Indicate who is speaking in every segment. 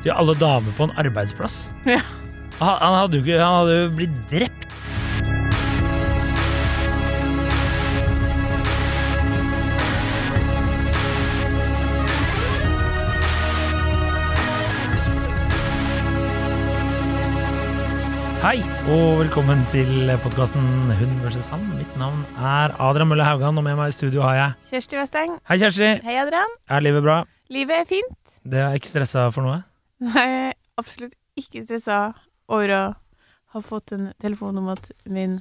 Speaker 1: til alle damer på en arbeidsplass
Speaker 2: Ja.
Speaker 1: han, han, hadde jo ikke, han hadde jo blitt drept. Hei, og velkommen til podkasten Hun versus han. Mitt navn er Adrian Mølle Haugan, og med meg i studio har jeg
Speaker 2: Kjersti Westeng.
Speaker 1: Hei, Kjersti.
Speaker 2: Hei, Adrian.
Speaker 1: Er livet bra?
Speaker 2: Livet er fint.
Speaker 1: Det er ikke stressa for noe?
Speaker 2: Nei, jeg er absolutt ikke stressa over å ha fått en telefon om at min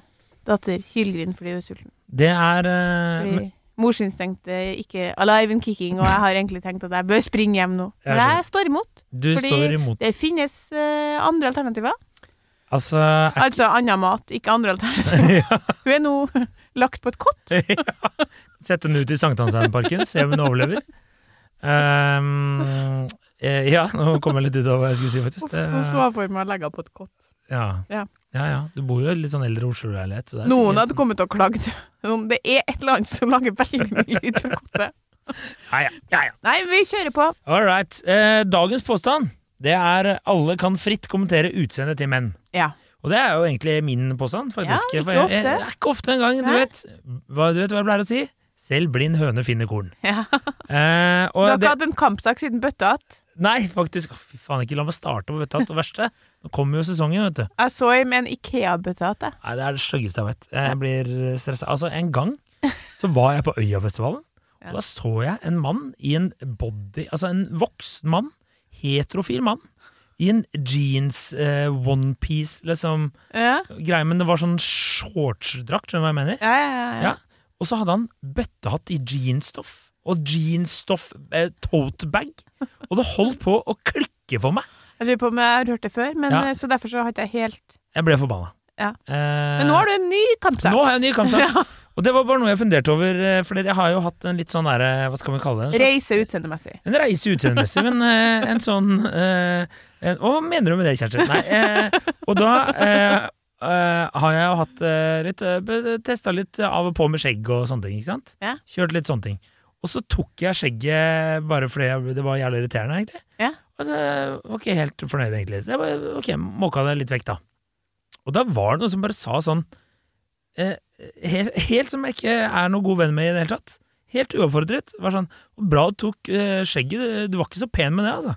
Speaker 2: datter hylgriner fordi hun er sulten.
Speaker 1: Det er eh, men-
Speaker 2: Fordi morsinstinktet er ikke alive and kicking, og jeg har egentlig tenkt at jeg bør springe hjem nå.
Speaker 1: Jeg
Speaker 2: Men jeg står imot.
Speaker 1: Du
Speaker 2: fordi-
Speaker 1: står imot.
Speaker 2: Det finnes eh, andre alternativer.
Speaker 1: Altså er,
Speaker 2: Altså annen mat, ikke andre alternativer. Hun er nå lagt på et kott.
Speaker 1: Sett henne ut i Sankthansheimerparken, se om hun overlever. Ehm, eh, ja, nå kom jeg litt ut av hva jeg skulle si, faktisk.
Speaker 2: Uff,
Speaker 1: Det,
Speaker 2: Hun så for meg å legge henne på et kott.
Speaker 1: ja.
Speaker 2: Ja.
Speaker 1: ja, ja. Du bor jo i litt sånn eldre Oslo-leilighet. så det er
Speaker 2: Noen
Speaker 1: sikkert
Speaker 2: hadde kommet og klagd. Om Det er et eller annet som lager veldig mye lyd fra kottet.
Speaker 1: sånn- Ja, ja, ja, ja.
Speaker 2: Nei, vi kjører på.
Speaker 1: All right. Eh, dagens påstand det er alle kan fritt kommentere utseendet til menn.
Speaker 2: Ja.
Speaker 1: Og det er jo egentlig min påstand, faktisk.
Speaker 2: Ja, ikke
Speaker 1: For jeg-
Speaker 2: ofte.
Speaker 1: Jeg, det er ikke ofte engang. Du
Speaker 2: Nei.
Speaker 1: vet, hva, du vet hva jeg pleier å si? Selv blind høne finner korn.
Speaker 2: Ja.
Speaker 1: Eh,
Speaker 2: Du har
Speaker 1: og det,
Speaker 2: ikke hatt en kampsak siden bøtta att.
Speaker 1: Nei, faktisk. Å, Fy faen, ikke la meg starte på bøtta. Det verste. Nå kommer jo sesongen, vet du.
Speaker 2: Jeg så med en Ikea-bøtte att. jeg.
Speaker 1: Nei, Det er det styggeste jeg vet. Jeg blir stressa. Altså, en gang så var jeg på Øyafestivalen.
Speaker 2: Ja.
Speaker 1: Og da så jeg en mann i en body Altså en voksen mann, heterofil mann, i en jeans, eh, onepiece, liksom
Speaker 2: Ja.
Speaker 1: greie, men det var sånn shortsdrakt, skjønner du hva jeg mener?
Speaker 2: Ja, ja, ja, ja.
Speaker 1: Ja. Og så hadde han bøttehatt i jeansstoff, og jeansstoff eh, totebag, og det holdt på å klikke for meg.
Speaker 2: Jeg lurer på om jeg har hørt det før, men
Speaker 1: Ja.
Speaker 2: eh, så derfor så har ikke jeg helt
Speaker 1: Jeg ble forbanna.
Speaker 2: Ja.
Speaker 1: Eh,
Speaker 2: Men nå har du en ny kampsak.
Speaker 1: nå har jeg en ny kampsak. Og det var bare noe jeg funderte over, eh, Fordi jeg har jo hatt en litt sånn derre Hva skal vi kalle det? En, slags-
Speaker 2: Reise utseendemessig.
Speaker 1: en reise utseendemessig, men eh, en sånn eh, en, Å, Hva mener du med det, Kjersti? Nei. eh, og da eh, eh, har jeg jo hatt eh, litt uh, Testa litt av og på med skjegg og sånne ting, ikke sant?
Speaker 2: Ja.
Speaker 1: Kjørt litt sånne ting. Og så tok jeg skjegget bare fordi jeg, det var jævlig irriterende, egentlig.
Speaker 2: Ja.
Speaker 1: Og så var ikke jeg helt fornøyd, egentlig. Så jeg bare, ok, måka det litt vekk, da. Og da var det noen som bare sa sånn eh, helt, helt som jeg ikke er noen god venn med i det hele tatt. Helt uoppfordret. Var sånn Bra du tok eh, skjegget, du var ikke så pen med det, altså.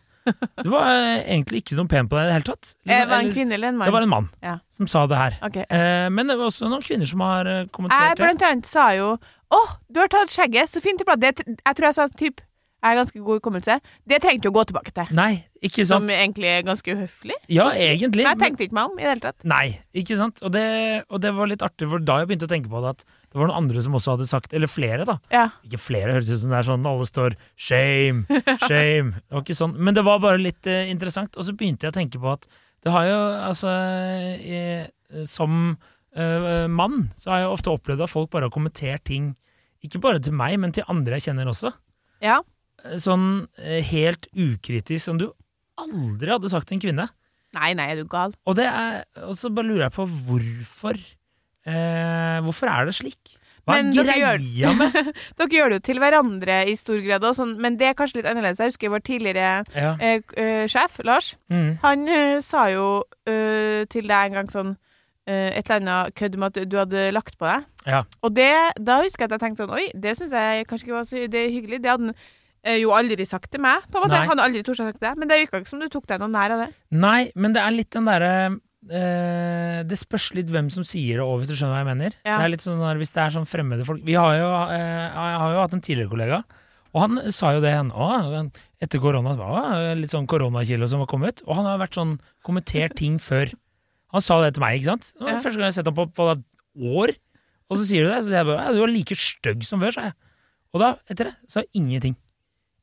Speaker 1: Du var eh, egentlig ikke noe pen på deg i det hele tatt.
Speaker 2: Eh, Var det en
Speaker 1: Eller-
Speaker 2: kvinne eller en mann?
Speaker 1: det var en mann
Speaker 2: Ja.
Speaker 1: som sa det her.
Speaker 2: Ok.
Speaker 1: Eh, men det var også noen kvinner som har eh,
Speaker 2: Jeg
Speaker 1: kommentert det.
Speaker 2: blant annet sa jo Å, du har tatt skjegget, så fint tilbake. Det, jeg tror jeg sa typ Jeg har ganske god hukommelse. Det trengte du å gå tilbake til.
Speaker 1: Nei, ikke
Speaker 2: Som
Speaker 1: sant.
Speaker 2: egentlig er ganske uhøflig.
Speaker 1: Ja, egentlig.
Speaker 2: Men jeg
Speaker 1: men-
Speaker 2: tenkte ikke meg om i det hele tatt.
Speaker 1: Nei, ikke sant? Og det, og det var litt artig, for da jeg begynte å tenke på det, at det var noen andre som også hadde sagt, eller flere da,
Speaker 2: Ja.
Speaker 1: ikke flere, høres ut som det er sånn, alle står shame, shame, det var ikke sånn, men det var bare litt eh, interessant, og så begynte jeg å tenke på at det har jo, altså, eh, som eh, mann, så har jeg ofte opplevd at folk bare har kommentert ting, ikke bare til meg, men til andre jeg kjenner også,
Speaker 2: ja.
Speaker 1: Eh, sånn eh, helt ukritisk, som du aldri hadde sagt til en kvinne.
Speaker 2: Nei, nei, er du gal?
Speaker 1: Og det er, og så bare lurer jeg på hvorfor eh, Hvorfor er det slik? Hva
Speaker 2: Men
Speaker 1: er
Speaker 2: dere gjør-
Speaker 1: greia med
Speaker 2: Dere gjør det jo til hverandre i stor grad, også, sånn, men det er kanskje litt annerledes. Jeg husker vår tidligere
Speaker 1: ja.
Speaker 2: eh, k- eh, sjef, Lars.
Speaker 1: mm.
Speaker 2: Han eh, sa jo eh, til deg en gang sånn eh, et eller annet kødd med at du hadde lagt på deg.
Speaker 1: Ja.
Speaker 2: Og det, da husker jeg at jeg tenkte sånn Oi, det syns jeg kanskje ikke var så hy- det er hyggelig. Det hadde han eh, jo aldri sagt til meg. På en måte.
Speaker 1: Nei.
Speaker 2: Han hadde aldri tort å sagt det, men det virka ikke som du tok deg noe nær av det.
Speaker 1: Nei, men det er litt den derre eh, Det spørs litt hvem som sier det òg, hvis du skjønner hva jeg mener.
Speaker 2: Ja.
Speaker 1: Det er litt sånn der, Hvis det er sånn fremmede folk Vi har jo, eh, Jeg har jo hatt en tidligere kollega, og han sa jo det han, å, han- etter korona. Å, litt sånn koronakilo som var kommet. Og han har vært sånn kommentert ting før. Han sa det til meg, ikke sant? Det var
Speaker 2: Ja.
Speaker 1: Første gang jeg har sett ham på, på år. Og så sier du det, så sier jeg bare «Ja, 'du er like stygg som før', sa jeg. Og da, etter det, sa jeg ingenting.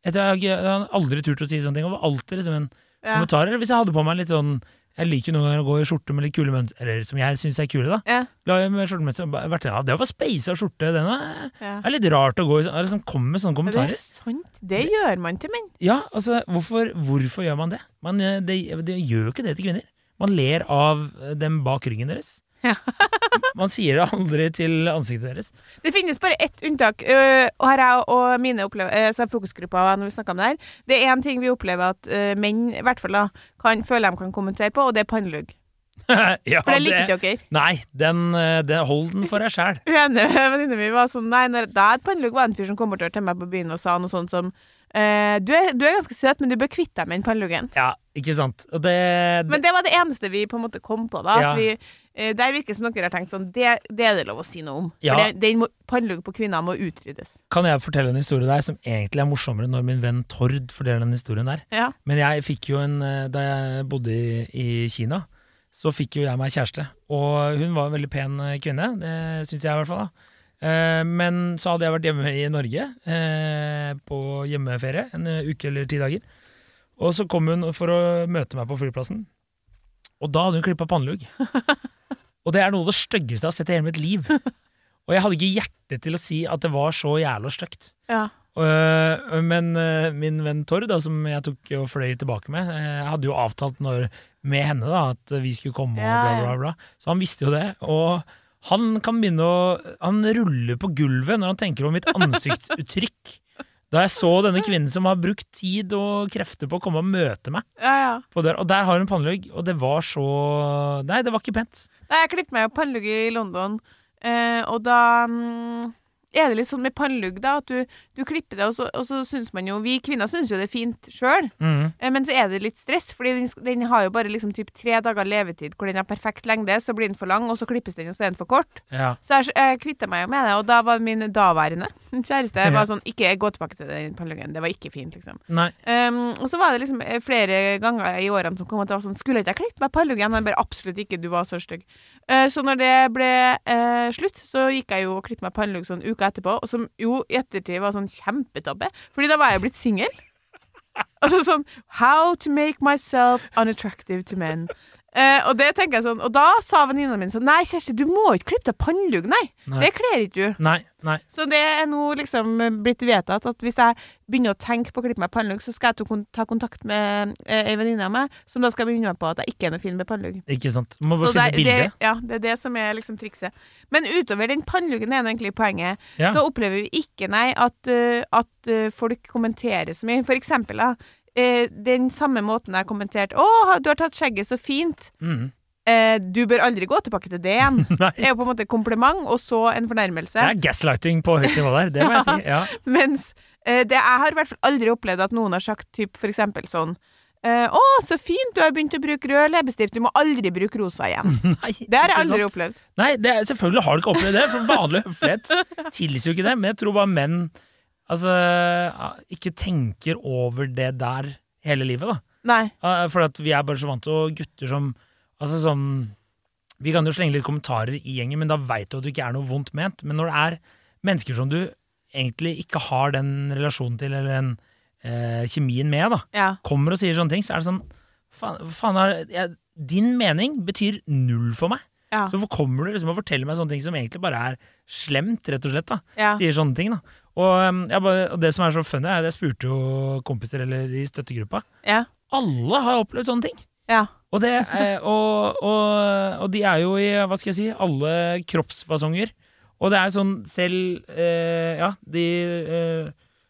Speaker 1: Etter, jeg, jeg har aldri turt å si sånne ting. Og var alltid liksom en
Speaker 2: Ja.
Speaker 1: kommentarer. Hvis jeg hadde på meg litt sånn Jeg liker jo noen ganger å gå i skjorte med litt kule mønster, eller som jeg syns er kule, da.
Speaker 2: Ja.
Speaker 1: Glad i med skjortemønster. og bare vært- Ja, det var speisa skjorte, den er,
Speaker 2: Ja.
Speaker 1: er litt rart å gå i. sånn- Liksom, komme med sånne
Speaker 2: Ja, det er
Speaker 1: kommentarer.
Speaker 2: sant. Det gjør man til menn.
Speaker 1: Ja, altså, hvorfor, hvorfor gjør man det? Man eh, det, det gjør jo ikke det til kvinner. Man ler av eh, dem bak ryggen deres.
Speaker 2: Ja.
Speaker 1: man sier det aldri til ansiktet deres.
Speaker 2: Det finnes bare ett unntak, øh, og her er og mine opplever, øh, så er fokusgruppa når vi snakker om det her. Det er én ting vi opplever at øh, menn i hvert fall da, kan føle de kan kommentere på, og det er pannelugg.
Speaker 1: ja,
Speaker 2: For det liker ikke dere.
Speaker 1: Nei, den, eh, det- hold den for deg sjæl.
Speaker 2: Uenig venninna mi var sånn Nei, når, der pannelugg var en fyr som kom bort til meg på byen og sa noe sånt som «Eh, du, er, du er ganske søt, men du bør kvitte deg med den panneluggen.
Speaker 1: Ja, ikke sant. Og det,
Speaker 2: Men det var det eneste vi på en måte kom på. da at
Speaker 1: Ja.
Speaker 2: vi, eh, Der virker det som dere har tenkt sånn Det, det er det lov å si noe om.
Speaker 1: Ja.
Speaker 2: For det- Den må- pannelugg på kvinner må utryddes.
Speaker 1: kan jeg fortelle en historie der som egentlig er morsommere når min venn Tord forteller den historien der.
Speaker 2: Ja.
Speaker 1: Men jeg fikk jo en eh, Da jeg bodde i, i Kina, så fikk jo jeg meg kjæreste. Og hun var en veldig pen eh, kvinne, det syns jeg i hvert fall. da Eh, Men så hadde jeg vært hjemme i Norge eh, på hjemmeferie en eh, uke eller ti dager. Og så kom hun for å møte meg på flyplassen, og da hadde hun klippa pannelugg. Og det er noe av det styggeste jeg har sett i hele mitt liv. Og jeg hadde ikke hjerte til å si at det var så jævla stygt.
Speaker 2: ja.
Speaker 1: Øh, men øh, min venn Tord, da, som jeg tok og fløy tilbake med, øh, jeg hadde jo avtalt når, med henne da, at vi skulle komme og
Speaker 2: Ja,
Speaker 1: bla,
Speaker 2: ja.
Speaker 1: bla, bla. Så han visste jo det. Og han kan begynne å Han ruller på gulvet når han tenker over mitt ansiktsuttrykk. Da jeg så denne kvinnen som har brukt tid og krefter på å komme og møte meg
Speaker 2: ja, ja.
Speaker 1: på døra, og der har hun pannelugg, og det var så Nei, det var ikke pent.
Speaker 2: Nei, jeg klippet meg jo pannelugg i London, eh, og da mm, er det litt sånn med pannelugg, da, at du, du klipper det, og så, og så syns man jo Vi kvinner syns jo det er fint sjøl,
Speaker 1: Mm.
Speaker 2: eh, men så er det litt stress, fordi den, sk- den har jo bare liksom typ tre dager levetid hvor den har perfekt lengde, så blir den for lang, og så klippes den, og så er den for kort.
Speaker 1: Ja.
Speaker 2: Så jeg, jeg kvitta meg jo med det, og da var min daværende kjæreste bare sånn Ikke gå tilbake til den panneluggen, det var ikke fint, liksom.
Speaker 1: Nei.
Speaker 2: Ehm, og så var det liksom eh, flere ganger i årene som kom at det var sånn Skulle ikke jeg klippe meg panneluggen? Han bare absolutt ikke, du var så stygg. Eh, så når det ble eh, slutt, så gikk jeg jo og klippet meg pannelugg sånn uka etterpå, og som jo i ettertid var sånn kjempetabbe, fordi da var jeg blitt singel. Altså sånn How to make myself unattractive to men. Eh, og det tenker jeg sånn Og da sa venninna mi sånn Nei, Kjersti, du må ikke klippe deg pannelugg, nei.
Speaker 1: Nei.
Speaker 2: Det kler ikke du.
Speaker 1: Nei. Nei.
Speaker 2: Så det er nå liksom blitt vedtatt at hvis jeg begynner å tenke på å klippe meg pannelugg, så skal jeg ta kon- ta kontakt med eh, ei venninne av meg som da skal begynne meg på at jeg ikke er noe fin med pannelugg.
Speaker 1: Ikke sant. Må
Speaker 2: Så
Speaker 1: bare finne
Speaker 2: det,
Speaker 1: bilde.
Speaker 2: ja, det er det som er liksom trikset. Men utover den panneluggen er nå egentlig poenget
Speaker 1: Ja.
Speaker 2: så opplever vi ikke, nei, at, eh, at eh, folk kommenterer så mye. For eksempel, da, eh, den samme måten jeg kommenterte 'Å, ha- du har tatt skjegget så fint'.
Speaker 1: Mm.
Speaker 2: Eh, du bør aldri gå tilbake til det igjen.
Speaker 1: Nei.
Speaker 2: Det er jo på en måte et kompliment, og så en fornærmelse.
Speaker 1: Det er gaslighting på høyt nivå der, det må jeg si. Ja.
Speaker 2: Mens eh, det, jeg har i hvert fall aldri opplevd at noen har sagt typ, for eksempel sånn eh, 'Å, så fint, du har begynt å bruke rød leppestift, du må aldri bruke rosa igjen'.
Speaker 1: Nei,
Speaker 2: Det har jeg
Speaker 1: ikke
Speaker 2: aldri
Speaker 1: sant?
Speaker 2: opplevd.
Speaker 1: Nei, det er, selvfølgelig har du ikke opplevd det, for vanlig høflighet tilsier jo ikke det. Men jeg tror bare menn altså, ikke tenker over det der hele livet, da.
Speaker 2: Nei.
Speaker 1: Eh, For at vi er bare så vant til å gutter som Altså sånn Vi kan jo slenge litt kommentarer i gjengen, men da veit du at det ikke er noe vondt ment. Men når det er mennesker som du egentlig ikke har den relasjonen til, eller den eh, kjemien med, da,
Speaker 2: Ja.
Speaker 1: kommer og sier sånne ting, så er det sånn Faen, faen er, jeg, din mening betyr null for meg.
Speaker 2: Ja.
Speaker 1: Så hvorfor kommer du liksom og forteller meg sånne ting som egentlig bare er slemt, rett og slett. da
Speaker 2: ja.
Speaker 1: Sier sånne ting, da. Og, um, jeg bare, og det som er så funny, er at jeg spurte jo kompiser eller i støttegruppa.
Speaker 2: Ja.
Speaker 1: Alle har opplevd sånne ting!
Speaker 2: ja.
Speaker 1: Og, det, eh, og, og, og de er jo i hva skal jeg si, alle kroppsfasonger. Og det er sånn selv eh, Ja, de eh,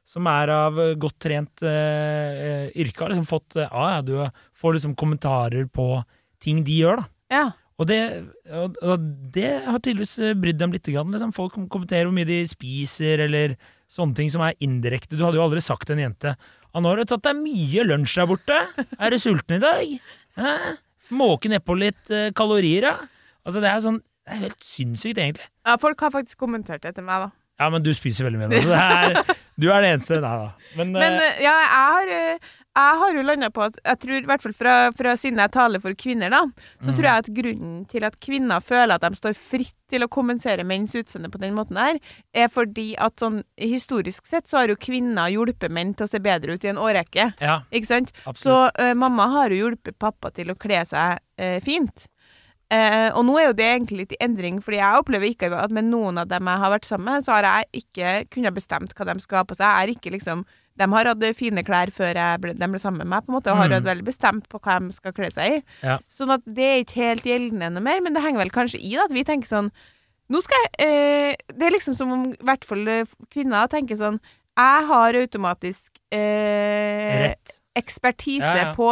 Speaker 1: som er av eh, godt trent eh, eh, yrke, har liksom fått eh, Ja, ja, du får liksom kommentarer på ting de gjør, da.
Speaker 2: ja.
Speaker 1: Og det, og, og det har tydeligvis eh, brydd dem litt. Grann, liksom. Folk kom- kommenterer hvor mye de spiser, eller sånne ting som er indirekte. Du hadde jo aldri sagt til en jente «Ah, nå har du tatt deg mye lunsj der borte. Er du sulten i dag? Hæ? Måke nedpå litt eh, kalorier, da? Altså, det er sånn Det er helt sinnssykt, egentlig.
Speaker 2: Ja, folk har faktisk kommentert det til meg, da.
Speaker 1: Ja, men du spiser veldig mye. nå, så det er, du er den eneste. Nei da. Men,
Speaker 2: Men
Speaker 1: eh,
Speaker 2: eh, ja, jeg har, eh, Jeg har jo landa på at jeg tror, i hvert fall fra, fra siden jeg taler for kvinner, da,
Speaker 1: Mhm.
Speaker 2: så tror jeg at grunnen til at kvinner føler at de står fritt til å kompensere menns utseende på den måten der, er fordi at sånn historisk sett så har jo kvinner hjulpet menn til å se bedre ut i en årrekke.
Speaker 1: Ja,
Speaker 2: Ikke sant? Så
Speaker 1: absolutt.
Speaker 2: eh, mamma har jo hjulpet pappa til å kle seg eh, fint. Eh, og nå er jo det egentlig litt i endring, fordi jeg opplever ikke at med noen av dem jeg har vært sammen med, så har jeg ikke kunnet bestemt hva de skal ha på seg. Jeg er ikke liksom De har hatt fine klær før jeg ble, de ble sammen med meg, på en måte, og har
Speaker 1: Mm.
Speaker 2: hatt veldig bestemt på hva de skal kle seg i.
Speaker 1: Ja.
Speaker 2: Sånn at det er ikke helt gjeldende noe mer, men det henger vel kanskje i da, at vi tenker sånn Nå skal jeg eh, Det er liksom som om i hvert fall eh, kvinner tenker sånn Jeg har automatisk eh,
Speaker 1: Rett.
Speaker 2: ekspertise
Speaker 1: Ja, ja.
Speaker 2: på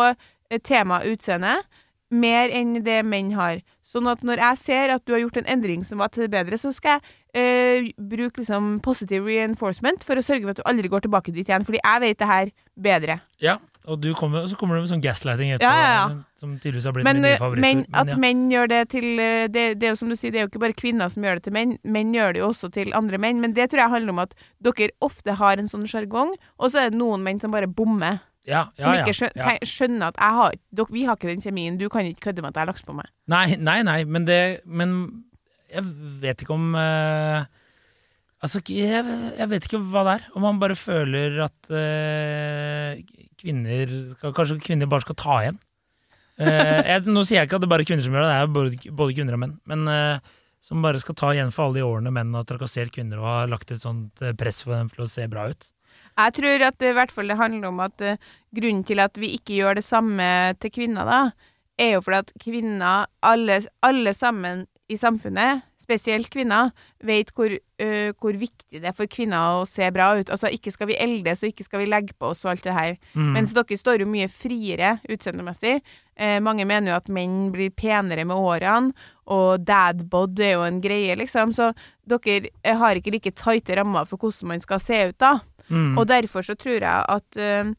Speaker 2: eh, tema utseende mer enn det menn har. Sånn at når jeg ser at du har gjort en endring som var til det bedre, så skal jeg eh, bruke liksom positive reinforcement for å sørge for at du aldri går tilbake dit igjen, fordi jeg vet det her bedre.
Speaker 1: Ja, og du kommer, og så kommer du med sånn gaslighting etterpå,
Speaker 2: Ja, ja, ja.
Speaker 1: som tydeligvis har blitt
Speaker 2: Men,
Speaker 1: min nye
Speaker 2: eh,
Speaker 1: favorittord.
Speaker 2: men at
Speaker 1: ja.
Speaker 2: menn gjør det til eh, det, det er jo som du sier, det er jo ikke bare kvinner som gjør det til menn. Menn gjør det jo også til andre menn. Men det tror jeg handler om at dere ofte har en sånn sjargong, og så er det noen menn som bare bommer.
Speaker 1: ja, ja,
Speaker 2: Som
Speaker 1: ja,
Speaker 2: ikke skjø-
Speaker 1: ja.
Speaker 2: te- skjønner at jeg har, dere, vi har ikke den kjemien, du kan ikke kødde med at jeg har lagt på meg.
Speaker 1: Nei, nei, nei, men det Men jeg vet ikke om eh, Altså, ikke- jeg, jeg vet ikke hva det er. Om man bare føler at eh, kvinner skal, Kanskje kvinner bare skal ta igjen. Eh, jeg, nå sier jeg ikke at det er bare kvinner som gjør det, det er jo både, både kvinner og menn. Men eh, som bare skal ta igjen for alle de årene menn har trakassert kvinner og har lagt et sånt eh, press for dem for å se bra ut.
Speaker 2: Jeg tror at det, i hvert fall det handler om at eh, grunnen til at vi ikke gjør det samme til kvinner, da, er jo fordi at kvinner, alle, alle sammen i samfunnet, spesielt kvinner, vet hvor, eh, hvor viktig det er for kvinner å se bra ut. Altså, ikke skal vi eldes, og ikke skal vi legge på oss og alt det her.
Speaker 1: Mm.
Speaker 2: Mens dere står jo mye friere utseendemessig. Eh, mange mener jo at menn blir penere med årene, og dadbod er jo en greie, liksom. Så dere eh, har ikke like tighte rammer for hvordan man skal se ut, da.
Speaker 1: Mm.
Speaker 2: Og derfor så tror jeg at eh,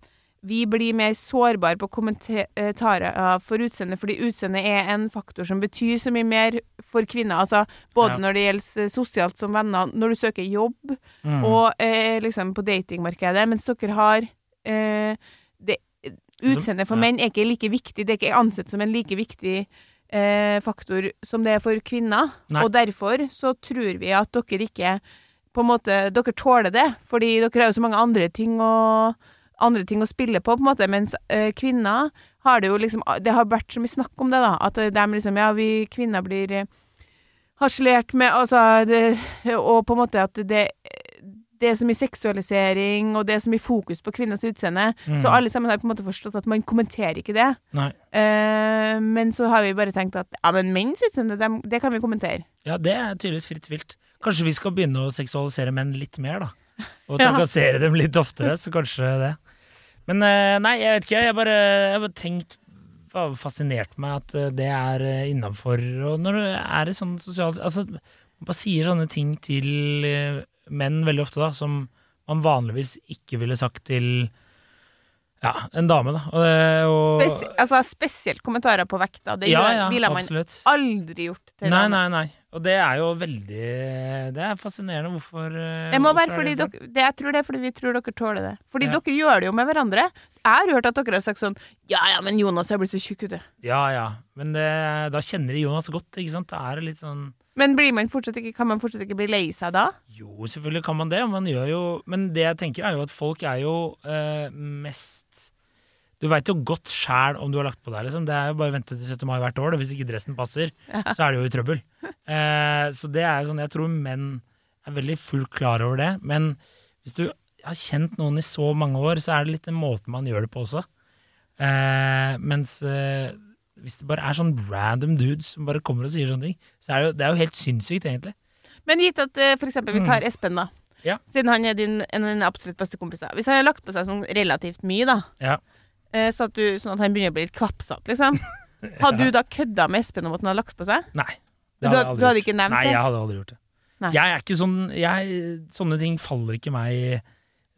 Speaker 2: vi blir mer sårbare på kommentarer for utseendet, fordi utseendet er en faktor som betyr så mye mer for kvinner. Altså både
Speaker 1: Ja.
Speaker 2: når det gjelder eh, sosialt som venner, når du søker jobb,
Speaker 1: Mm.
Speaker 2: og eh, liksom på datingmarkedet, mens dere har eh, det, Utseendet for
Speaker 1: Ja.
Speaker 2: menn er ikke like viktig, det er ikke ansett som en like viktig eh, faktor som det er for kvinner.
Speaker 1: Nei.
Speaker 2: Og derfor så tror vi at dere ikke på en måte, Dere tåler det, fordi dere har jo så mange andre ting å, andre ting å spille på, på en måte, mens eh, kvinner har det jo liksom Det har vært så mye snakk om det, da. At de liksom Ja, vi kvinner blir eh, harselert med Altså det, Og på en måte at det det er så mye seksualisering, og det er så mye fokus på kvinners utseende.
Speaker 1: Mm.
Speaker 2: Så alle sammen har på en måte forstått at man kommenterer ikke det.
Speaker 1: Nei.
Speaker 2: Eh, men så har vi bare tenkt at ja, men menns utseende, dem- det kan vi kommentere.
Speaker 1: Ja, det er tydeligvis fritt vilt. Kanskje vi skal begynne å seksualisere menn litt mer, da. Og
Speaker 2: Ja.
Speaker 1: trakassere dem litt oftere, så kanskje det. Men eh, nei, jeg vet ikke. Jeg bare, jeg bare tenkt Det har fascinert meg at eh, det er innafor. Og når du er i sånn sosial Altså, man bare sier sånne ting til eh, menn veldig ofte, da, som man vanligvis ikke ville sagt til ja, en dame, da. Og, det- og,
Speaker 2: Spes altså spesielt kommentarer på vekta. Det
Speaker 1: ja,
Speaker 2: gjør-
Speaker 1: ja,
Speaker 2: ville man
Speaker 1: absolutt.
Speaker 2: aldri gjort til
Speaker 1: Nei,
Speaker 2: damer.
Speaker 1: nei, nei. Og det er jo veldig Det er fascinerende hvorfor eh,
Speaker 2: Det må
Speaker 1: hvorfor
Speaker 2: være
Speaker 1: er
Speaker 2: fordi
Speaker 1: det sånn?
Speaker 2: dere, det, jeg tror det er fordi vi tror dere tåler det. Fordi
Speaker 1: Ja.
Speaker 2: dere gjør det jo med hverandre. Jeg har hørt at dere har sagt sånn Ja ja, men Jonas, jeg blir så tjukk, vet du.
Speaker 1: Ja, ja. Men det, da kjenner de Jonas godt, ikke sant? Da er det litt sånn
Speaker 2: Men blir man fortsatt ikke, kan man fortsatt ikke bli lei seg da?
Speaker 1: Jo, selvfølgelig kan man det, man gjør jo Men det jeg tenker, er jo at folk er jo eh, mest Du veit jo godt sjæl om du har lagt på deg, liksom. Det er jo bare å vente til 17. mai hvert år, da. Hvis ikke dressen passer, så er du jo i trøbbel. Eh, så det er jo sånn Jeg tror menn er veldig fullt klar over det. Men hvis du har kjent noen i så mange år, så er det litt den måten man gjør det på også. Eh, mens eh, hvis det bare er sånn random dudes som bare kommer og sier sånne ting, så er det jo, det er jo helt sinnssykt, egentlig.
Speaker 2: Men gitt at eh, for eksempel vi tar Espen, da.
Speaker 1: Mm. Ja.
Speaker 2: Siden han er din en, en absolutt beste kompis. da. Hvis han har lagt på seg sånn relativt mye, da,
Speaker 1: Ja.
Speaker 2: eh, så at du, sånn at han begynner å bli litt kvapsete, liksom. Hadde du da kødda med Espen om at han hadde lagt på seg?
Speaker 1: Nei.
Speaker 2: Men du had- du hadde
Speaker 1: gjort.
Speaker 2: ikke nevnt
Speaker 1: Nei,
Speaker 2: det?
Speaker 1: jeg hadde aldri gjort det.
Speaker 2: Nei.
Speaker 1: Jeg er ikke sånn jeg, Sånne ting faller ikke meg Nei,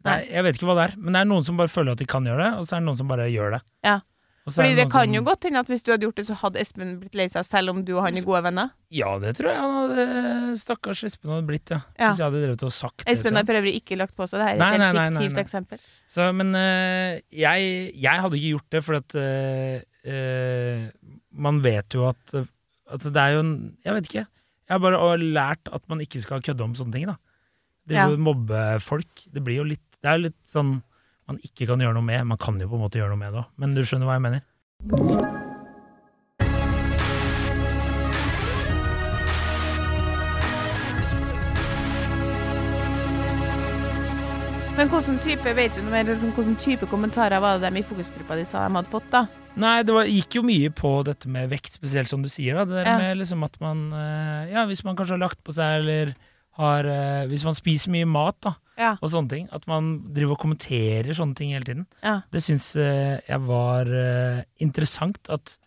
Speaker 2: Nei.
Speaker 1: Jeg vet ikke hva det er, men det er noen som bare føler at de kan gjøre det, og så er det noen som bare gjør det.
Speaker 2: Ja.
Speaker 1: Og så er
Speaker 2: Fordi det
Speaker 1: noen
Speaker 2: kan
Speaker 1: som-
Speaker 2: jo godt hende at hvis du hadde gjort det, så hadde Espen blitt lei seg, selv om du og han er gode venner.
Speaker 1: Ja, det tror jeg han hadde Stakkars Espen hadde blitt, ja.
Speaker 2: Ja.
Speaker 1: Hvis jeg hadde drevet og sagt det. til
Speaker 2: Espen
Speaker 1: han.
Speaker 2: har for øvrig ikke lagt på seg, det her
Speaker 1: Nei,
Speaker 2: er et
Speaker 1: nei,
Speaker 2: helt
Speaker 1: nei, nei,
Speaker 2: fiktivt
Speaker 1: nei.
Speaker 2: eksempel.
Speaker 1: Så, men eh, jeg, jeg hadde ikke gjort det, for at eh, eh, man vet jo at eh, at det er jo en Jeg vet ikke. Jeg har bare eh, lært at man ikke skal kødde om sånne ting. da. Drive
Speaker 2: Ja.
Speaker 1: og mobbe folk. Det blir jo litt Det er jo litt sånn man ikke kan gjøre noe med. Man kan jo på en måte gjøre noe med det òg, men du skjønner hva jeg mener.
Speaker 2: Men hvilken type vet du noe mer, liksom, hvilken type kommentarer var det dem i fokusgruppa de sa de hadde fått, da?
Speaker 1: Nei, det var, gikk jo mye på dette med vekt, spesielt som du sier. da, Det der
Speaker 2: Ja.
Speaker 1: med liksom at man eh, Ja, hvis man kanskje har lagt på seg, eller har eh, Hvis man spiser mye mat, da.
Speaker 2: Ja.
Speaker 1: og sånne ting. At man driver og kommenterer sånne ting hele tiden.
Speaker 2: ja.
Speaker 1: Det syns eh, jeg var eh, interessant at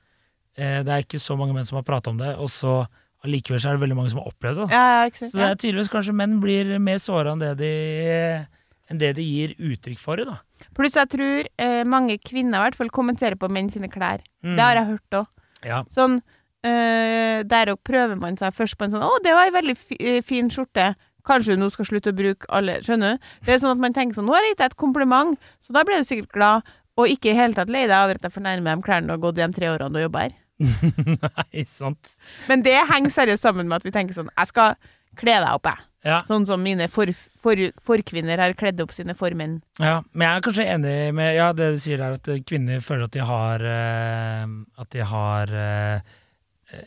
Speaker 1: eh, det er ikke så mange menn som har prata om det, og så allikevel så er det veldig mange som har opplevd det. da.
Speaker 2: Ja, ja, ikke sant?
Speaker 1: Så det er tydeligvis kanskje menn blir mer såra enn det de enn det de gir uttrykk for. da.
Speaker 2: Ja. Pluss jeg tror eh, mange kvinner i hvert fall kommenterer på menn sine klær.
Speaker 1: Mm.
Speaker 2: Det har jeg hørt òg.
Speaker 1: Ja.
Speaker 2: Sånn, eh, der òg prøver man seg først på en sånn 'Å, det var ei veldig fi, eh, fin skjorte'. Kanskje hun nå skal slutte å bruke alle Skjønner du? Det er sånn at man tenker sånn 'Nå har jeg gitt deg et kompliment', så da ble du sikkert glad. Og ikke i hele tatt lei deg av at jeg fornærmer de klærne du har gått i de tre årene du jobber her.
Speaker 1: Nei, sant.
Speaker 2: Men det henger seriøst sammen med at vi tenker sånn 'Jeg skal kle deg opp, jeg'.
Speaker 1: Ja,
Speaker 2: Sånn som mine for, for, forkvinner har kledd opp sine formenn.
Speaker 1: ja. Men jeg er kanskje enig med ja, det du sier der, at eh, kvinner føler at de har eh, At de har eh,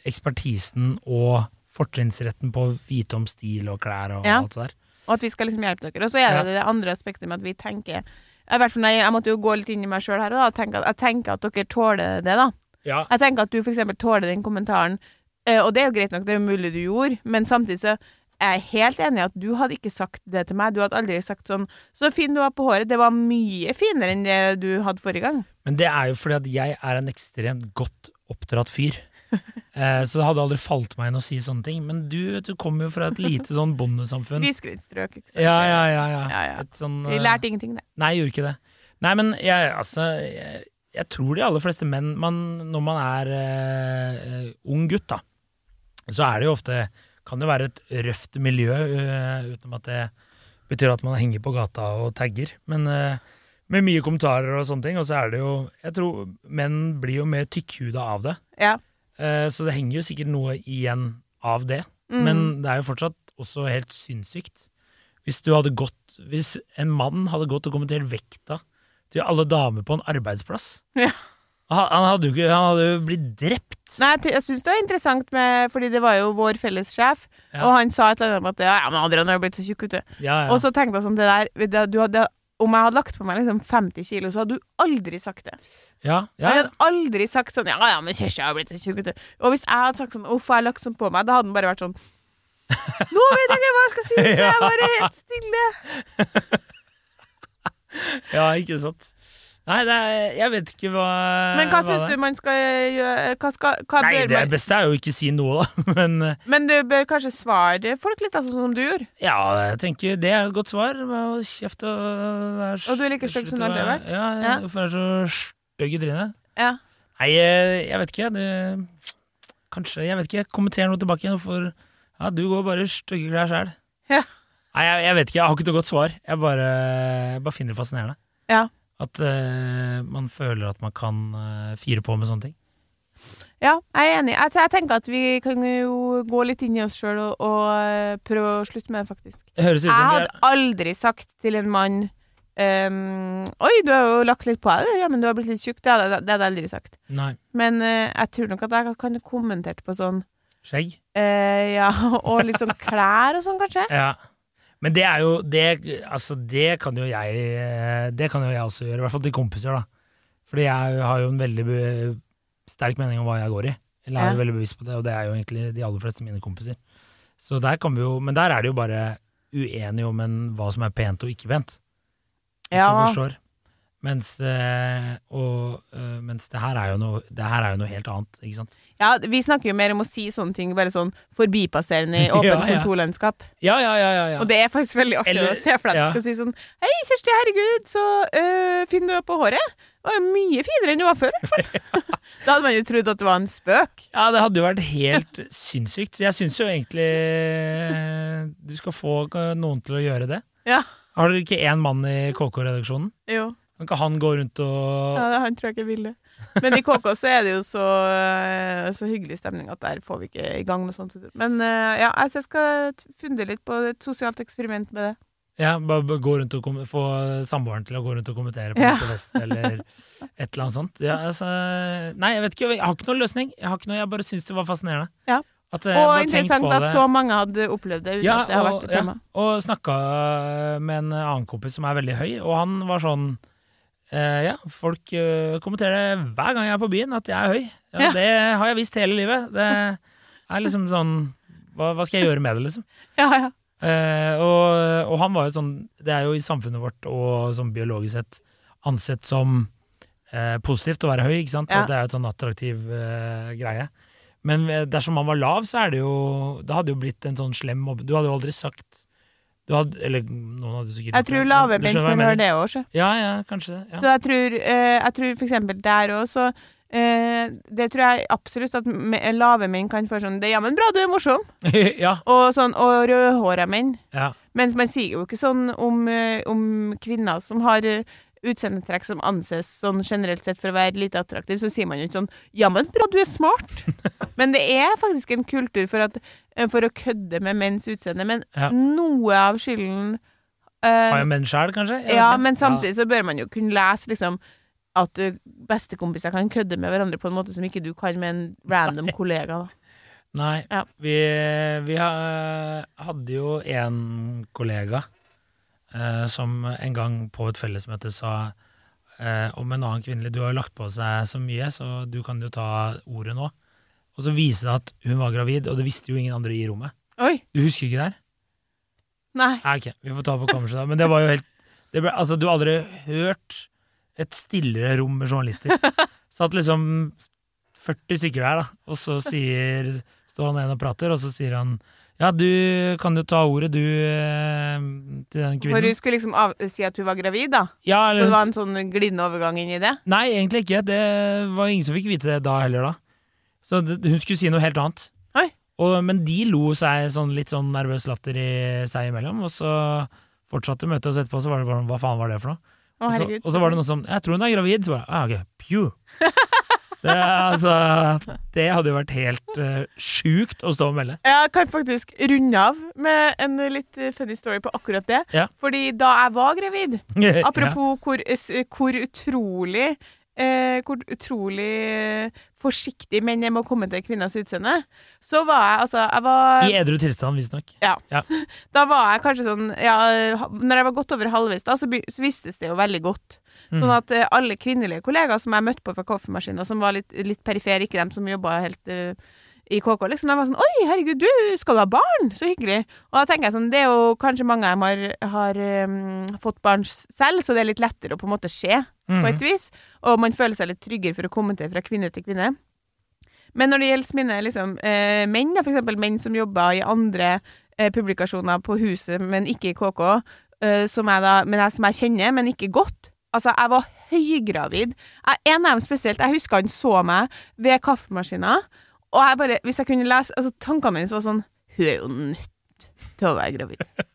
Speaker 1: ekspertisen og fortrinnsretten på å vite om stil og klær og
Speaker 2: Ja.
Speaker 1: alt det der.
Speaker 2: Og at vi skal liksom hjelpe dere. Og så er det det andre aspektet med at vi tenker i hvert fall, nei, Jeg måtte jo gå litt inn i meg sjøl her og da, og tenke at, jeg tenker at dere tåler det. da.
Speaker 1: Ja,
Speaker 2: Jeg tenker at du for eksempel tåler den kommentaren, eh, og det er jo greit nok, det er jo mulig du gjorde, men samtidig så er jeg helt enig i at du hadde ikke sagt det til meg. Du hadde aldri sagt sånn 'Så fin du var på håret'. Det var mye finere enn det du hadde forrige gang.
Speaker 1: Men det er jo fordi at jeg er en ekstremt godt oppdratt fyr. Eh, så det hadde aldri falt meg inn å si sånne ting. Men du, vet du kommer jo fra et lite sånn bondesamfunn.
Speaker 2: Grisgrendstrøk, ikke sant.
Speaker 1: Ja, ja, ja. ja.
Speaker 2: Ja, ja.
Speaker 1: Et sånn,
Speaker 2: Vi
Speaker 1: eh,
Speaker 2: lærte ingenting, det.
Speaker 1: Nei, jeg gjorde ikke det. Nei, men jeg, altså jeg, jeg tror de aller fleste menn man, Når man er eh, eh, ung gutt, da, så er det jo ofte Kan det være et røft miljø, eh, utenom at det betyr at man henger på gata og tagger. Men eh, med mye kommentarer og sånne ting. Og så er det jo Jeg tror menn blir jo mer tykkhuda av det.
Speaker 2: Ja.
Speaker 1: Eh, så det henger jo sikkert noe igjen av det.
Speaker 2: Mm.
Speaker 1: Men det er jo fortsatt også helt sinnssykt. Hvis, du hadde gått, hvis en mann hadde gått og kommentert vekta til alle damer på en arbeidsplass
Speaker 2: Ja.
Speaker 1: han, han, hadde jo ikke, han hadde jo blitt drept.
Speaker 2: Nei, jeg ty- jeg syns det var interessant, med, fordi det var jo vår felles sjef,
Speaker 1: Ja.
Speaker 2: og han sa et eller annet om at ja, ja, men Adrian har jo blitt så tjukk, vet du.
Speaker 1: Ja, ja.
Speaker 2: Og så tenkte jeg sånn, det der vet du, du hadde, Om jeg hadde lagt på meg liksom 50 kilo, så hadde du aldri sagt det.
Speaker 1: ja, ja,
Speaker 2: Jeg hadde aldri sagt sånn Ja, ja, men Kjersti har blitt så tjukk, vet du. Og hvis jeg hadde sagt sånn Uff, jeg har lagt sånn på meg, da hadde han bare vært sånn Nå vet jeg ikke hva jeg skal si, så jeg er bare helt stille.
Speaker 1: ja, ikke sant. Nei, det er, jeg vet ikke hva
Speaker 2: Men hva
Speaker 1: hva
Speaker 2: syns
Speaker 1: det er.
Speaker 2: du man skal gjøre Hva, skal, hva
Speaker 1: Nei,
Speaker 2: bør
Speaker 1: det
Speaker 2: man
Speaker 1: beste er jo ikke si noe, da. Men eh,
Speaker 2: Men du bør kanskje svare folk litt, altså, sånn som du gjorde.
Speaker 1: ja, jeg tenker det er et godt svar. Hold Kjeft og øh, vær
Speaker 2: Og du er like stygg
Speaker 1: slutt
Speaker 2: som du
Speaker 1: å
Speaker 2: alltid har
Speaker 1: være-
Speaker 2: vært.
Speaker 1: Ja,
Speaker 2: Ja.
Speaker 1: Hvorfor er du så stygg i trynet?
Speaker 2: Ja.
Speaker 1: Nei, eh, jeg vet ikke. Det, kanskje, jeg vet ikke. Kommenter noe tilbake igjen. For ja, du går bare i stygge klær sjæl.
Speaker 2: Ja.
Speaker 1: Nei, jeg, jeg vet ikke. Jeg har ikke noe godt svar. Jeg bare, jeg bare finner det fascinerende.
Speaker 2: ja.
Speaker 1: At eh, man føler at man kan eh, fire på med sånne ting.
Speaker 2: Ja, jeg er enig. Jeg, jeg tenker at vi kan jo gå litt inn i oss sjøl og, og eh, prøve å slutte med det, faktisk.
Speaker 1: Det høres ut
Speaker 2: Jeg
Speaker 1: som
Speaker 2: hadde
Speaker 1: det er-
Speaker 2: aldri sagt til en mann ehm, Oi, du har jo lagt litt på deg, du. ja, men du har blitt litt tjukk. Det hadde jeg- det hadde jeg aldri sagt.
Speaker 1: Nei.
Speaker 2: Men eh, jeg tror nok at jeg kan kommentert på sånn
Speaker 1: Skjegg?
Speaker 2: eh, Ja, og litt sånn klær og sånn, kanskje.
Speaker 1: Ja. Men det er jo det, altså det kan jo jeg eh, Det kan jo jeg også gjøre, i hvert fall til kompiser, da. Fordi jeg har jo en veldig be- sterk mening om hva jeg går i. Eller er
Speaker 2: Ja.
Speaker 1: jo veldig bevisst på det, og det er jo egentlig de aller fleste mine kompiser. Så der kan vi jo, Men der er det jo bare uenige om en, hva som er pent og ikke pent, hvis du
Speaker 2: Ja.
Speaker 1: forstår. Mens, eh, og, eh, mens det, her er jo noe, det her er jo noe helt annet, ikke sant.
Speaker 2: ja, vi snakker jo mer om å si sånne ting bare sånn forbipasserende i åpent
Speaker 1: Ja, ja.
Speaker 2: kontorlandskap.
Speaker 1: Ja, ja, ja, ja, ja.
Speaker 2: Og det er faktisk veldig artig
Speaker 1: Eller-
Speaker 2: å se for deg at
Speaker 1: ja.
Speaker 2: eh, du skal si sånn Hei, Kjersti, herregud, så øh, fin du er på håret. var jo mye finere enn det var før. i hvert fall. da hadde man jo trodd at det var en spøk.
Speaker 1: Ja, det hadde jo vært helt sinnssykt. Så jeg syns jo egentlig du skal få eh, noen til å gjøre det.
Speaker 2: Ja.
Speaker 1: Har dere ikke én mann i KK-redaksjonen?
Speaker 2: Jo.
Speaker 1: Kan ikke han gå rundt og
Speaker 2: Ja, det- han tror jeg ikke vil det. Men i KK så er det jo så, eh, så hyggelig stemning at der får vi ikke i gang noe sånt. Men eh, ja, altså, jeg skal t- funde litt på et sosialt eksperiment med det.
Speaker 1: Ja, bare bare gå rundt og kom- få samboeren til å gå rundt og kommentere på
Speaker 2: Ja.
Speaker 1: neste fest, eller et eller annet sånt. Ja, altså, nei, jeg vet ikke. Jeg har ikke noen løsning. Jeg, har ikke noe, jeg bare syns det var fascinerende.
Speaker 2: Ja.
Speaker 1: At jeg
Speaker 2: Og
Speaker 1: bare tenkte
Speaker 2: interessant
Speaker 1: på
Speaker 2: at
Speaker 1: det.
Speaker 2: så mange hadde opplevd det uten
Speaker 1: ja,
Speaker 2: at det har
Speaker 1: og,
Speaker 2: vært et tema.
Speaker 1: Ja, og snakka med en annen kompis som er veldig høy, og han var sånn eh, Ja, folk eh, kommenterer hver gang jeg er på byen at jeg er høy. Ja,
Speaker 2: Ja.
Speaker 1: Det har jeg visst hele livet. Det er liksom sånn Hva, hva skal jeg gjøre med det, liksom?
Speaker 2: Ja, ja.
Speaker 1: Eh, og, og han var jo sånn Det er jo i samfunnet vårt og sånn biologisk sett ansett som eh, positivt å være høy, ikke sant?
Speaker 2: Ja.
Speaker 1: At det er et sånn attraktiv eh, greie. Men eh, dersom han var lav, så er det jo Det hadde jo blitt en sånn slem mobbe. Du hadde jo aldri sagt du hadde, Eller noen hadde sikkert
Speaker 2: Jeg tror lave menn får høre
Speaker 1: det.
Speaker 2: det òg,
Speaker 1: Ja, ja, kanskje det. Ja.
Speaker 2: Så jeg tror, eh, jeg tror for eksempel der òg, så eh, Det tror jeg absolutt at me- lave menn kan få sånn det, 'Jammen bra, du er morsom',
Speaker 1: ja,
Speaker 2: og, sånn, og rødhåra menn.
Speaker 1: ja.
Speaker 2: Mens man sier jo ikke sånn om, eh, om kvinner som har eh, utseendetrekk som anses sånn generelt sett for å være lite attraktiv, så sier man jo ikke sånn 'Jammen bra, du er smart'. Men det er faktisk en kultur for, at, eh, for å kødde med menns utseende. Men
Speaker 1: Ja.
Speaker 2: noe av skylden eh,
Speaker 1: Har jo menn sjæl, kanskje? Jeg vet
Speaker 2: ja,
Speaker 1: ikke.
Speaker 2: men samtidig så bør man jo kunne lese liksom at ø, bestekompiser kan kødde med hverandre på en måte som ikke du kan med en random kollega. Da.
Speaker 1: Nei.
Speaker 2: Ja.
Speaker 1: Vi, vi ha- hadde jo en kollega eh, som en gang på et fellesmøte sa eh, om en annen kvinnelig Du har jo lagt på seg så mye, så du kan jo ta ordet nå. Og så viste det at hun var gravid, og det visste jo ingen andre i rommet.
Speaker 2: Oi!
Speaker 1: Du husker ikke det her?
Speaker 2: Nei.
Speaker 1: Nei, Ah, ok, vi får ta på kammerset da. Men det var jo helt det ble, Altså, du har aldri hørt et stillere rom med journalister. Satt liksom 40 stykker der, da, og så sier Står han igjen og prater, og så sier han Ja, du kan jo ta ordet, du, eh, til den
Speaker 2: For
Speaker 1: kvinnen.
Speaker 2: hun skulle liksom av si at hun var gravid, da?
Speaker 1: Ja,
Speaker 2: Så det
Speaker 1: eller
Speaker 2: var en sånn glidende overgang inn i det?
Speaker 1: Nei, egentlig ikke. Det var ingen som fikk vite det da heller, da. Så det, hun skulle si noe helt annet.
Speaker 2: Oi.
Speaker 1: Og, men de lo seg sånn, litt sånn nervøs latter i seg imellom, og så fortsatte møtet, og så etterpå så var det bare sånn, hva faen var det for noe?
Speaker 2: Å,
Speaker 1: og, så,
Speaker 2: herregud.
Speaker 1: og så var det noen som Jeg tror hun er gravid. Så bare ah, ok, pju. Det, er altså, det hadde jo vært helt uh, sjukt å stå og melde.
Speaker 2: Jeg kan faktisk runde av med en litt ø, funny story på akkurat det.
Speaker 1: Ja. Eh,
Speaker 2: Fordi da jeg var gravid,
Speaker 1: Ja.
Speaker 2: Apropos hvor, s- hvor utrolig eh, Hvor utrolig eh, forsiktig menn er med å komme til kvinners utseende, så var jeg altså jeg var,
Speaker 1: I edru tilstand, visstnok.
Speaker 2: Da var jeg kanskje sånn ja, ha- Når jeg var godt over halvveis, da, så, by- så vistes det jo veldig godt. Sånn at eh, alle kvinnelige kollegaer som jeg møtte på fra kaffemaskinen, som var litt, litt perifere, ikke dem som jobba helt eh, i KK, liksom, de var sånn Oi, herregud, du skal du ha barn? Så hyggelig. Og da tenker jeg sånn, det er jo kanskje mange av dem har, har eh, fått barn s- selv, så det er litt lettere å på en måte se på et vis. Og man føler seg litt tryggere for å kommentere fra kvinne til kvinne. Men når det gjelder mine liksom, eh, menn, da, for eksempel menn som jobber i andre eh, publikasjoner på huset, men ikke i KK, eh, som, jeg da, men jeg, som jeg kjenner, men ikke godt. Altså, jeg var høygravid. Jeg, en av dem spesielt, jeg husker han så meg ved kaffemaskina, og jeg bare, hvis jeg kunne lese, altså tankene mine var sånn, hun er jo nødt til å være gravid.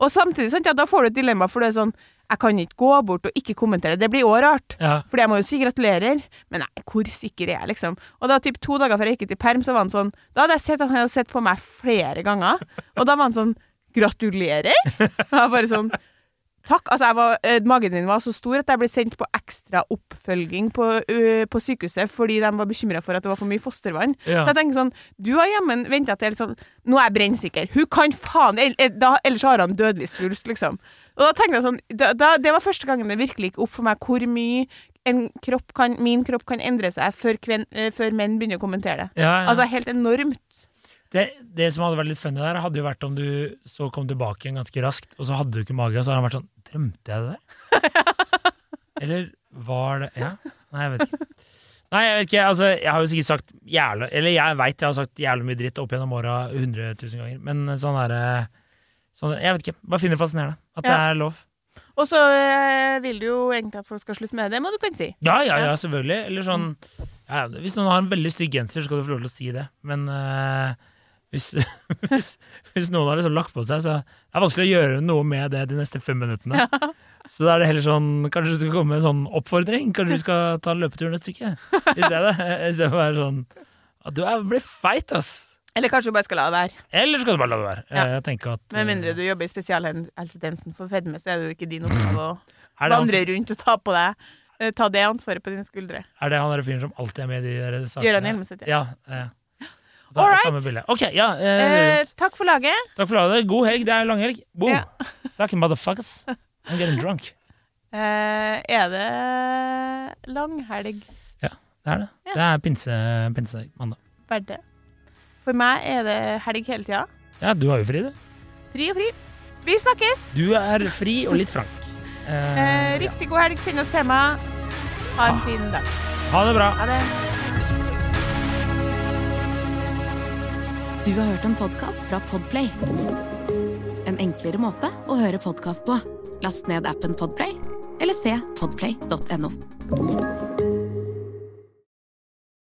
Speaker 2: og samtidig, sant, ja, da får du et dilemma, for det er sånn, jeg kan ikke gå bort og ikke kommentere, det blir også rart.
Speaker 1: Ja.
Speaker 2: Fordi jeg må jo si gratulerer, men nei, hvor sikker er jeg, liksom? Og da typ to dager før jeg gikk ut i perm, så var han sånn Da hadde jeg sett at han hadde sett på meg flere ganger, og da var han sånn Gratulerer? Og jeg bare sånn Takk. Altså, jeg var, eh, magen min var så stor at jeg ble sendt på ekstra oppfølging på, ø, på sykehuset fordi de var bekymra for at det var for mye fostervann.
Speaker 1: Ja.
Speaker 2: Så jeg tenker sånn Du har jammen venta til sånn Nå er jeg brennsikker. Hun kan faen el- el- da, Ellers har han dødelig svulst, liksom. Og da tenkte jeg sånn da, da, Det var første gangen det virkelig gikk opp for meg hvor mye en kropp kan, min kropp kan endre seg før, kven, eh, før menn begynner å kommentere det.
Speaker 1: Ja, ja.
Speaker 2: Altså helt enormt.
Speaker 1: det, det som hadde vært litt funny der, hadde jo vært om du så kom tilbake igjen ganske raskt, og så hadde du ikke mage, og så hadde han vært sånn Drømte jeg det der? Eller var det Ja? Nei, jeg vet ikke. Nei, jeg vet ikke, altså, jeg har jo sikkert sagt jævla Eller jeg veit jeg har sagt jævlig mye dritt opp gjennom åra eh, 100 000 ganger, men sånn er det sånn, Jeg vet ikke. Bare finner det fascinerende. At det
Speaker 2: Ja.
Speaker 1: er lov.
Speaker 2: Og så eh, vil du jo egentlig at folk skal slutte med det, må du kunne si.
Speaker 1: Ja, ja, ja, selvfølgelig. Eller sånn ja, Hvis noen har en veldig stygg genser, så skal du få lov til å si det. Men eh, hvis, hvis, hvis noen har liksom lagt på seg, så er det vanskelig å gjøre noe med det de neste fem minuttene. Så da er det heller sånn Kanskje du skal komme med en sånn oppfordring? Kanskje du skal ta løpeturen et stykke? I stedet I stedet for å være sånn «Ja, Du er- blir feit, ass!
Speaker 2: Eller kanskje du bare skal la det være.
Speaker 1: Eller så skal du bare la det være.
Speaker 2: Ja.
Speaker 1: Eh, Jeg tenker at
Speaker 2: Med mindre du jobber i spesialhelsetjenesten for fedme, så er det jo ikke din oppgave å
Speaker 1: eh, er det,
Speaker 2: vandre
Speaker 1: han,
Speaker 2: rundt og ta på deg eh, Ta det ansvaret på dine skuldre.
Speaker 1: er det han der fyren som alltid er med i de der sakene?
Speaker 2: Gøran Hjelmeset, ja.
Speaker 1: Ja. eh. Så,
Speaker 2: All right.
Speaker 1: Samme bilde. Ok, ja. eh,
Speaker 2: Eh, takk for laget.
Speaker 1: Takk for laget. God helg. Det er langhelg. Boom.
Speaker 2: Ja.
Speaker 1: Suck motherfuckers. I'm getting drunk.
Speaker 2: Eh, er det langhelg
Speaker 1: Det er det.
Speaker 2: Ja.
Speaker 1: Det er pinse, pinsemandag.
Speaker 2: verdt det? For meg er det helg hele tida.
Speaker 1: Ja, du har jo fri, du.
Speaker 2: Fri og fri. Vi snakkes!
Speaker 1: Du er fri og litt frank.
Speaker 2: Eh,
Speaker 1: Eh, ja. Ah.
Speaker 2: riktig god helg. Send oss tema. Ha en fin dag.
Speaker 1: Ha det bra.
Speaker 2: Ha det.
Speaker 3: Du har hørt en podkast fra Podplay. En enklere måte å høre podkast på. Last ned appen Podplay, eller se podplay.no.